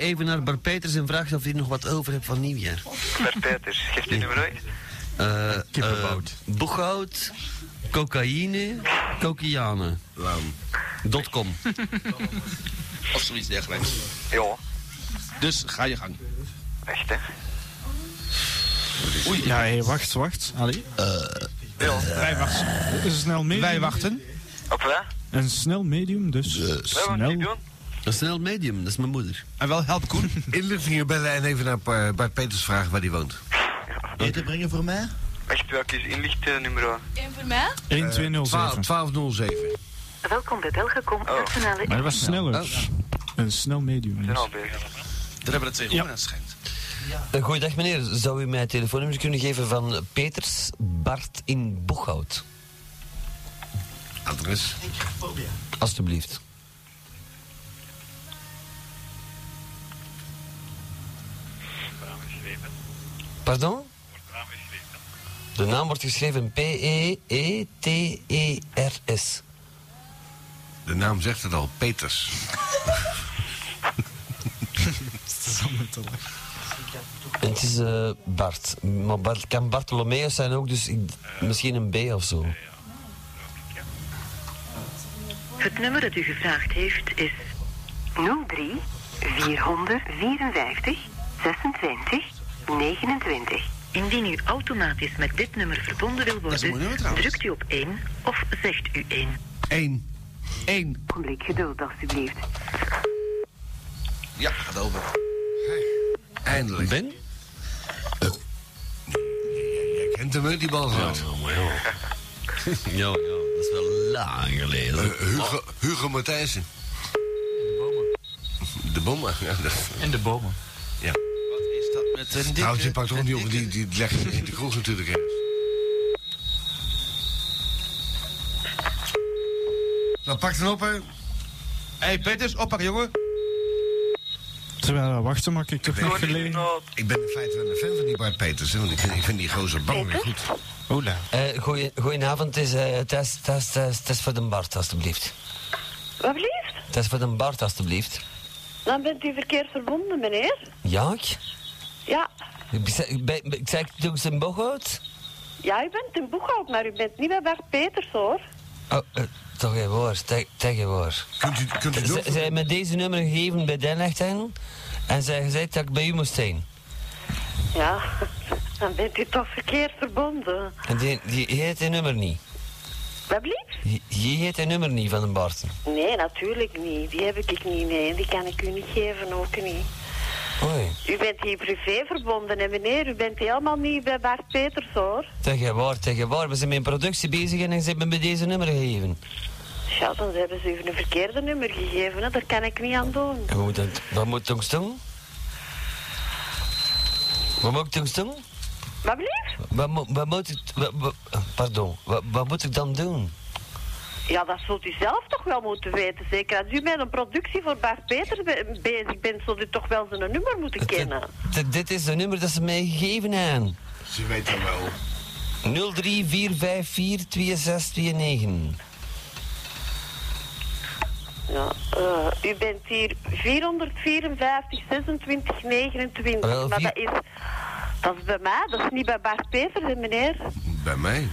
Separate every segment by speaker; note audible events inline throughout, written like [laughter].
Speaker 1: even naar Bart Peters en vraagt of hij nog wat over heeft van nieuwjaar.
Speaker 2: Bert Peters, dus geeft die nummer uit?
Speaker 1: Eh,
Speaker 3: Kippenbout.
Speaker 1: eh, boeghout, cocaïne, cocaïne. Dot com.
Speaker 4: Of zoiets dergelijks.
Speaker 2: Ja,
Speaker 4: Dus ga je gang.
Speaker 2: echt hè.
Speaker 4: Oei,
Speaker 3: Ja, hey, wacht, wacht. Allee.
Speaker 4: wij wachten.
Speaker 3: Een snel medium.
Speaker 4: Wij wachten.
Speaker 2: Op wat?
Speaker 3: Een snel medium, dus
Speaker 2: Wat moet ik
Speaker 3: snel.
Speaker 2: doen?
Speaker 1: Een snel medium, dat is mijn moeder.
Speaker 4: En wel help Koen.
Speaker 5: Inlichtingen bij Lijn even naar eh, Bart Peters vragen waar hij woont.
Speaker 6: Eten brengen voor mij?
Speaker 2: Echt, welke is inlichtingnummer?
Speaker 7: En voor mij?
Speaker 3: 1207.
Speaker 5: 1207.
Speaker 8: Welkom bij Belgacom Nationale
Speaker 3: Maar dat was sneller. Een snel medium.
Speaker 2: Zijn
Speaker 3: dus.
Speaker 2: al bezig.
Speaker 4: Daar hebben we twee horen, dat schijnt.
Speaker 1: Eh, Goeiedag meneer, zou u mij het telefoonnummer kunnen geven van eh, Peters Bart in Boeghout?
Speaker 5: Adres.
Speaker 1: Alsjeblieft. Pardon? De naam wordt geschreven P-E-E-T-E-R-S.
Speaker 5: De naam zegt het al, Peters.
Speaker 1: En [laughs] het is eh, Bart. Maar Bart kan Bartolomeus zijn ook, dus ik, misschien een B of zo.
Speaker 8: Het nummer dat u gevraagd heeft is 03 454 26 29. Indien u automatisch met dit nummer verbonden wil
Speaker 4: is een mooi nummer
Speaker 8: worden,
Speaker 4: trouwens.
Speaker 8: drukt u op 1 of zegt u 1.
Speaker 5: 1.
Speaker 4: Eén.
Speaker 8: Ogenblik geduld, alstublieft.
Speaker 4: Ja, gaat over.
Speaker 5: Eindelijk.
Speaker 1: Ben?
Speaker 5: Jij kent hem, hè, die bal gaat.
Speaker 1: Ja, ja, dat is wel lang geleden.
Speaker 5: Hugo, Hugo Matthijssen. De bommen. Ja, dat-
Speaker 3: En de bomen.
Speaker 4: Wat is dat met een dikke...
Speaker 5: Trouwens, je pakt toch
Speaker 4: een
Speaker 5: niet op, Nou, die,
Speaker 4: dikke-
Speaker 5: die legt je in de kroeg natuurlijk. hè. Nou, pak dan op, hè.
Speaker 4: hey, Peters, oppakken, jongen.
Speaker 3: Terwijl we wachten, maak ik toch nog gelegen.
Speaker 5: Ik ben in feite wel een fan van die Bart Peters, hè, want ik vind, ik vind die gozer bang weer goed.
Speaker 3: Ola.
Speaker 1: Eh goeie- goedenavond, het is, eh, het is, het is, het is- het is voor de Bart, alstublieft.
Speaker 9: Wat liefst?
Speaker 1: Het is voor de Bart, alstublieft.
Speaker 9: Dan bent u verkeersverbonden, meneer.
Speaker 1: Ja, ik?
Speaker 9: Ja,
Speaker 1: Ik zei- bij- bij- Ik zei, doe eens een bochthout.
Speaker 9: ja, u bent in Boeghout, maar u bent niet bij Bart Peters, hoor.
Speaker 1: Oh, eh, toch geen woord, te- tegen woord.
Speaker 5: Kunt u, kunt u
Speaker 1: Ze-
Speaker 5: doen?
Speaker 1: Zij hebben me deze nummer gegeven bij Den Echten en zij zei dat ik bij u moest zijn.
Speaker 9: Ja, [laughs] dan bent u toch verkeersverbonden.
Speaker 1: En die, die heet die nummer niet.
Speaker 9: Wat liefst?
Speaker 1: Die die heet die nummer niet van de Bart.
Speaker 9: Nee, natuurlijk niet. Die heb ik niet, nee. Die kan ik u niet geven, ook niet.
Speaker 1: Oei,
Speaker 9: U bent hier privé verbonden, hè, meneer. U bent helemaal niet bij Bart Peters, hoor.
Speaker 1: tegen woord, tegen woord. We zijn met een productie bezig en ze hebben me deze nummer gegeven.
Speaker 9: Ja, dan hebben ze u een verkeerde nummer gegeven, hè. Daar kan ik niet aan doen.
Speaker 1: En we moeten, wat moet ik ons doen? Wat moet ik ons doen?
Speaker 9: Wat liefst?
Speaker 1: Wat, moet- wat moet ik... wat- wat- pardon, wat, wat moet ik dan doen?
Speaker 9: Ja, dat zult u zelf toch wel moeten weten. Zeker als u met een productie voor Bart Peters be- bezig bent, zult u toch wel zijn nummer moeten kennen.
Speaker 1: Dit- dit is de nummer dat ze mij gegeven hebben.
Speaker 5: Ze weet dat wel.
Speaker 1: 034542629.
Speaker 9: Ja, eh, u bent hier 454, 26, 29.
Speaker 1: Wel,
Speaker 9: maar
Speaker 1: vier-
Speaker 9: dat is, dat is bij mij, dat is niet bij Bart Peters, hè, meneer.
Speaker 5: Bij mij?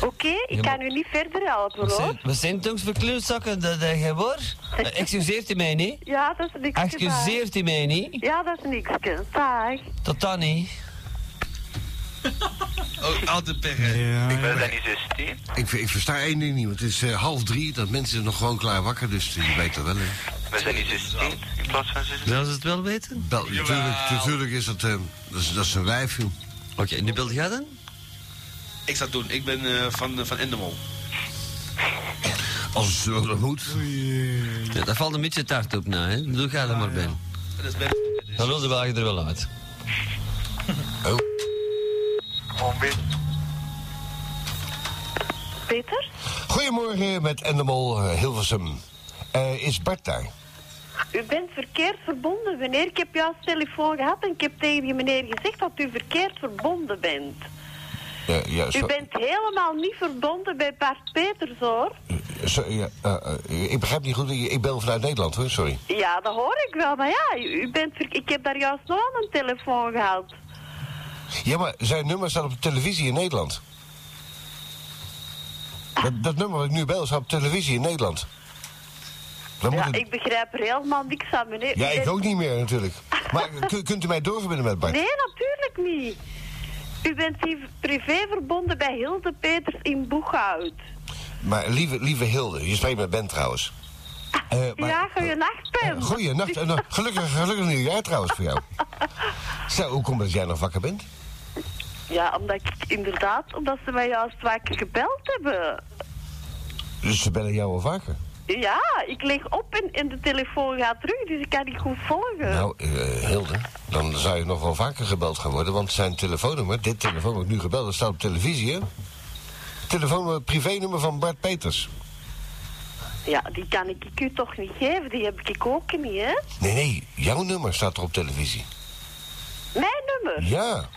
Speaker 9: Oké, ik
Speaker 1: Ja, maar-
Speaker 9: kan u niet verder helpen,
Speaker 1: Wat
Speaker 9: hoor.
Speaker 1: zijn- Wat zijn toch voor kleurzakken dat dat je wordt? Eh, Excuseert u mij niet?
Speaker 9: Ja, dat is niks.
Speaker 1: Excuseert u mij niet?
Speaker 9: Ja, dat is niks. Dag.
Speaker 1: Tot dan niet.
Speaker 4: Oh, altijd per... eh,
Speaker 3: Ja,
Speaker 2: Ben je
Speaker 3: ja.
Speaker 2: dan niet 16?
Speaker 5: Ik, ver- ik versta één ding niet, want het is eh, half drie, dat mensen nog gewoon klaar wakker, dus je weet dat wel. Hè.
Speaker 2: Ben je dan niet 16 in plaats van 16?
Speaker 1: Zou ze het wel weten?
Speaker 5: Bel, natuurlijk, natuurlijk is dat, eh, dat, is, dat is een wijf, joh.
Speaker 1: Oké, nu belt jij dan?
Speaker 4: Ik zou het doen. Ik ben eh, van, eh, van Endemol.
Speaker 5: Als het wel moet.
Speaker 1: Ja, dat valt een beetje taart op na, hè? Doe ga er maar bij.
Speaker 4: Dat is best...
Speaker 1: Dan lul de wagen er wel uit.
Speaker 2: Gewoon
Speaker 9: Peters?
Speaker 5: Goedemorgen met Endemol eh, Hilversum. Eh, is Bart daar?
Speaker 9: U bent verkeerd verbonden, meneer. Ik heb juist telefoon gehad en ik heb tegen die meneer gezegd dat u verkeerd verbonden bent.
Speaker 5: Ja, ja,
Speaker 9: U
Speaker 5: zo-
Speaker 9: bent helemaal niet verbonden bij Bart Peters, hoor.
Speaker 5: zo- ja, eh, eh, ik begrijp niet goed, ik ik bel vanuit Nederland hoor, sorry.
Speaker 9: Ja, dat hoor ik wel, maar ja, u u bent... ver- Ik heb daar juist nog aan een telefoon gehaald.
Speaker 5: Ja, maar zijn nummer staat op de televisie in Nederland. Dat, dat nummer wat ik nu bel staat op televisie in Nederland. Dan moet
Speaker 9: Ja,
Speaker 5: het-
Speaker 9: ik begrijp er helemaal niks aan, meneer.
Speaker 5: ja,
Speaker 9: U
Speaker 5: ik
Speaker 9: bent-
Speaker 5: ook niet meer natuurlijk.
Speaker 9: [laughs]
Speaker 5: Maar kun- kunt u mij doorverbinden met Bart?
Speaker 9: Nee, natuurlijk niet. U bent hier privé verbonden bij Hilde Peters in Boeghout.
Speaker 5: Maar lieve, lieve Hilde, je spreekt met Ben trouwens. Eh, maar-
Speaker 9: ja, goeienacht, Pim.
Speaker 5: Goeienacht. En, eh, gelukkig, gelukkig nieuwjaar trouwens voor jou. Zo, hoe komt het dat jij nog wakker bent?
Speaker 9: Ja, omdat ik inderdaad, omdat ze mij juist vaker gebeld hebben.
Speaker 5: Dus ze bellen jou al vaker.
Speaker 9: Ja, ik leg op en, en de telefoon gaat terug, dus ik kan niet goed volgen.
Speaker 5: Nou, eh, Hilde, dan zou je nog wel vaker gebeld gaan worden, want zijn telefoonnummer, dit telefoonnummer wat ik nu gebeld, dat staat op televisie, hè? Telefoonnummer, privénummer van Bart Peters.
Speaker 9: Ja, die kan ik ik u toch niet geven, die heb ik ook niet, hè?
Speaker 5: Nee, nee, jouw nummer staat er op televisie.
Speaker 9: Mijn nummer.
Speaker 5: Ja.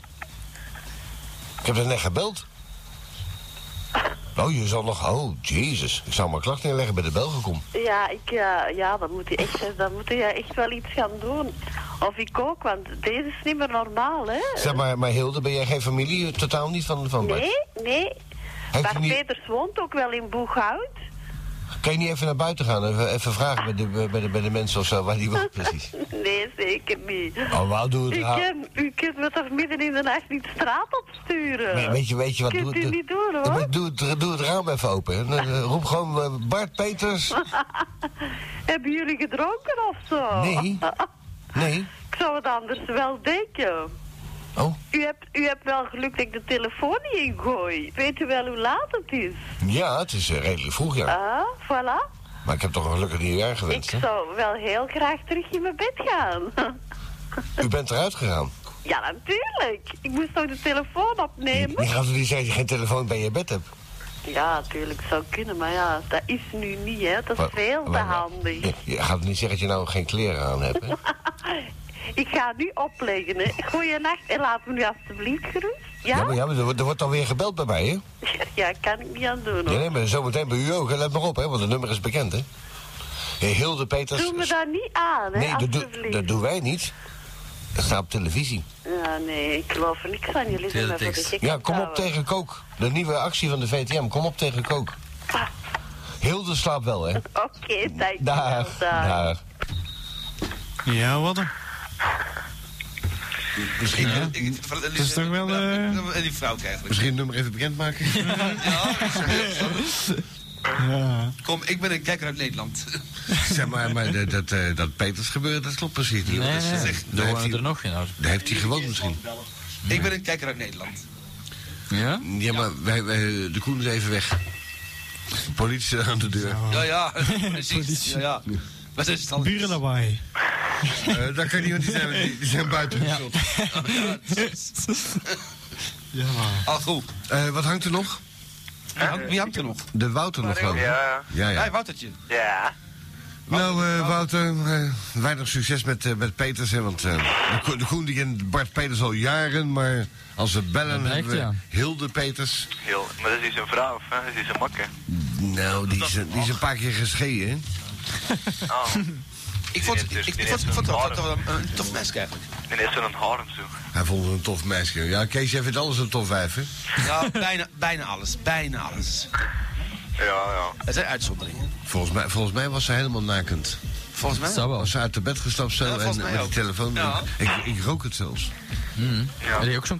Speaker 5: Ik heb er net gebeld. Oh, je zal nog... Oh, jezus. Ik zou maar klacht neerleggen bij de Belgencom.
Speaker 9: Ja, ik, eh, ja dan moet je echt, dan moet je echt wel iets gaan doen. Of ik ook, want deze is niet meer normaal, hè?
Speaker 5: Zeg maar, maar Hilde, ben jij geen familie? Totaal niet van, van Bart?
Speaker 9: Nee, nee.
Speaker 5: u
Speaker 9: Bart
Speaker 5: niet-
Speaker 9: Peters woont ook wel in Boeghout.
Speaker 5: Kan je niet even naar buiten gaan? Even, even vragen bij de, bij, de, bij de mensen of zo waar die woont
Speaker 9: [laughs]
Speaker 5: precies.
Speaker 9: Nee, zeker niet.
Speaker 5: Oh, wauw, doe het.
Speaker 9: U
Speaker 5: ah.
Speaker 9: kunt, u kunt me toch midden in de nacht niet straat opsturen?
Speaker 5: Nee, weet, je, weet je wat?
Speaker 9: Kunt
Speaker 5: doe,
Speaker 9: u
Speaker 5: doe-
Speaker 9: niet doen, hoor.
Speaker 5: Ja, maar Doe, het- doe het raam even open. En, eh, roep gewoon eh, Bart Peters.
Speaker 9: Hebben jullie gedronken of zo?
Speaker 5: Nee. Nee.
Speaker 9: Ik zou het anders wel denken.
Speaker 5: Oh,
Speaker 9: U hebt, u hebt wel geluk dat ik de telefoon niet ingooi. Weet u wel hoe laat het is?
Speaker 5: ja, het is eh, redelijk vroeg, ja.
Speaker 9: Ah, voilà.
Speaker 5: Maar ik heb toch een gelukkig nieuwjaar
Speaker 9: Ik
Speaker 5: gewenst, hè?
Speaker 9: zou wel heel graag terug in mijn bed gaan. [laughs]
Speaker 5: U bent eruit gegaan.
Speaker 9: ja, natuurlijk. Ik moest toch de telefoon
Speaker 5: Je
Speaker 9: opnemen?
Speaker 5: gaat toch niet zeggen dat je geen telefoon bij je bed hebt?
Speaker 9: Ja, natuurlijk zou kunnen, maar ja, dat is nu niet, hè. Dat is
Speaker 5: Wa-
Speaker 9: veel te
Speaker 5: wa- wa-
Speaker 9: handig.
Speaker 5: Je, je gaat niet zeggen dat je nou geen kleren aan hebt, hè?
Speaker 9: Ik ga nu opleggen, hè. Goeienacht en laat me nu alstublieft gerust.
Speaker 5: Ja, maar,
Speaker 9: Ja?
Speaker 5: ja, maar er, wordt- er wordt alweer gebeld bij mij, hè?
Speaker 9: [laughs] Ja, kan ik niet aan doen,
Speaker 5: Ja,
Speaker 9: hoor.
Speaker 5: nee, maar zometeen bij u ook. hè. Let maar op, hè, want het nummer is bekend, hè? Hey, Hilde Peters...
Speaker 9: Doe me daar niet aan, hè,
Speaker 5: nee, dat, doe-
Speaker 9: alstublieft.
Speaker 5: dat doen wij niet. Dat staat op televisie.
Speaker 9: Ja, nee, ik geloof er niks aan. Jullie zijn maar voor de
Speaker 4: Teletext.
Speaker 9: gek.
Speaker 5: Ja, kom op tegen kook. De nieuwe actie van de VTM. Kom op tegen kook. Hilde slaapt wel, hè?
Speaker 9: Oké, dank je wel.
Speaker 5: Dag. Dag.
Speaker 3: Ja, wat? dan?
Speaker 10: Misschien,
Speaker 4: Ik- ik-
Speaker 3: Het is toch wel, eh,
Speaker 4: En die vrouw eigenlijk.
Speaker 10: misschien het nummer even bekendmaken.
Speaker 5: [laughs]
Speaker 3: Ja.
Speaker 4: Kom, ik ben een kijker uit Nederland.
Speaker 10: zeg maar, maar dat, dat, eh, dat Peters gebeuren, dat klopt precies niet. want
Speaker 11: Nee,
Speaker 10: dat is
Speaker 11: nee,
Speaker 10: echt-
Speaker 11: er
Speaker 10: daar heeft
Speaker 11: wonen
Speaker 10: hij-
Speaker 11: er nog geen uit.
Speaker 10: daar heeft hij gewoond misschien.
Speaker 4: Ik ben een kijker uit Nederland.
Speaker 11: Ja?
Speaker 10: Ja, maar wij, wij, de Koen is even weg. Politie aan de deur.
Speaker 6: Oh.
Speaker 4: Ja,
Speaker 6: [laughs]
Speaker 4: ja, precies. Ja, ja. Wat is het dan?
Speaker 3: Burenlawaai.
Speaker 10: Eh, dat kan niet, want die zijn, die zijn buiten geschot.
Speaker 4: Ja,
Speaker 3: Ja.
Speaker 4: al goed.
Speaker 10: Eh, wat hangt er nog?
Speaker 4: Wie hangt- Wie hangt er nog?
Speaker 10: De Wouter nog geloof ik.
Speaker 2: Ja,
Speaker 10: Ja,
Speaker 4: Hé,
Speaker 10: ja.
Speaker 4: Woutertje.
Speaker 2: ja.
Speaker 10: Nou, eh, Wouter, eh, weinig succes met, eh, met Peters. Hè, want eh, de, Ko- de Koen die kent Bart Peters al jaren. Maar als we bellen
Speaker 11: Dat
Speaker 10: hebben we
Speaker 11: blijkt,
Speaker 10: Hilde Peters.
Speaker 2: Heel. Maar dat is een vrouw, of hè? Dat is een makke.
Speaker 10: Nou, die is, die is een paar keer gescheiden. hè.
Speaker 4: [laughs]
Speaker 2: Ah,
Speaker 4: Ik vond ik- ik- ik vond- ik vond het wel- wel een een tof mes eigenlijk.
Speaker 2: dan is er een harem zo.
Speaker 10: Hij vond het een tof meisje. Ja, Kees, jij vindt alles een tof wijf, hè?
Speaker 4: Ja, bijna, bijna alles. Bijna alles.
Speaker 2: Ja, ja.
Speaker 4: Het zijn uitzonderingen.
Speaker 10: Volgens mij, volgens mij was ze helemaal nakend.
Speaker 4: Volgens mij.
Speaker 11: Zou wel.
Speaker 10: Als ze uit de bed gestapt zo
Speaker 4: Ja,
Speaker 10: en
Speaker 4: volgens mij
Speaker 10: met die
Speaker 4: ook.
Speaker 10: telefoon.
Speaker 4: Ja.
Speaker 10: Ik, ik rook het zelfs.
Speaker 11: Heb je ook zo'n